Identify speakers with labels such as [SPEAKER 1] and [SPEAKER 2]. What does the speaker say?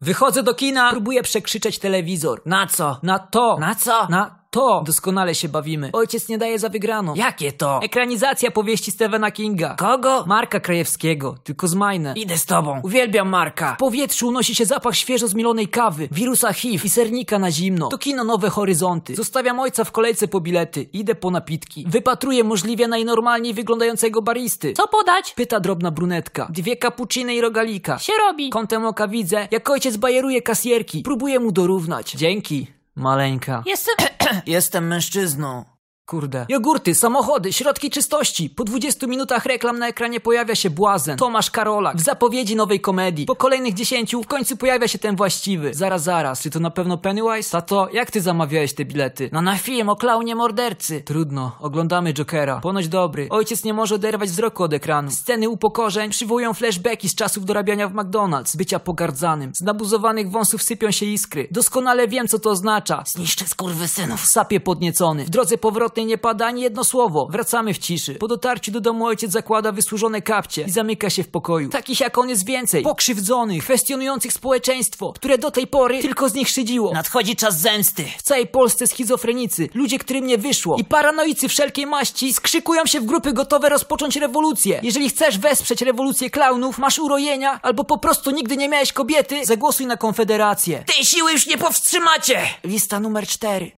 [SPEAKER 1] Wychodzę do kina, próbuję przekrzyczeć telewizor. Na co? Na to. Na co? No, Na to. Doskonale się bawimy. Ojciec nie daje za wygraną. Jakie to?
[SPEAKER 2] E,
[SPEAKER 1] Ekranizacja powieści Stephena Kinga. Kogo? Marka Krajewskiego. Tylko z Majne. Idę z tobą. Uwielbiam Marka. W powietrzu unosi się zapach świeżo zmielonej kawy, wirusa HIV i sernika na zimno. To kino Nowe Horyzonty. Zostawiam ojca w kolejce po bilety. Idę po napitki. Wypatruję możliwie najnormalniej wyglądającego baristy.
[SPEAKER 2] Co podać?
[SPEAKER 1] Pyta drobna brunetka. Dwie kapuciny i rogalika.
[SPEAKER 2] Się robi.
[SPEAKER 1] Kątem oka widzę, jak ojciec bajeruje kasjerki. Próbuję mu dorównać. Dzięki, maleńka.
[SPEAKER 2] Jestem...
[SPEAKER 1] Jestem mężczyzną. Kurde. Jogurty, samochody, środki czystości. Po 20 minutach reklam na ekranie pojawia się błazen. Tomasz Karolak w zapowiedzi nowej komedii. Po kolejnych 10 w końcu pojawia się ten właściwy. Zaraz, zaraz. Czy to na pewno Pennywise? Tato, jak ty zamawiałeś te bilety? No na film o klaunie mordercy. Trudno. Oglądamy Jokera. Ponoć dobry. Ojciec nie może oderwać wzroku od ekranu. Sceny upokorzeń przywołują flashbacki z czasów dorabiania w McDonald's. Bycia pogardzanym. Z nabuzowanych wąsów sypią się iskry. Doskonale wiem, co to oznacza. Zniszczę skurwysynów. Sapie podniecony. W drodze powrotnej nie pada ani jedno słowo. Wracamy w ciszy. Po dotarciu do domu ojciec zakłada wysłużone kapcie i zamyka się w pokoju. Takich jak on jest więcej. Pokrzywdzonych, kwestionujących społeczeństwo, które do tej pory tylko z nich szydziło. Nadchodzi czas zemsty. W całej Polsce schizofrenicy, ludzie, którym nie wyszło i paranoicy wszelkiej maści skrzykują się w grupy gotowe rozpocząć rewolucję. Jeżeli chcesz wesprzeć rewolucję klaunów, masz urojenia albo po prostu nigdy nie miałeś kobiety, zagłosuj na Konfederację. Tej siły już nie powstrzymacie! Lista numer 4.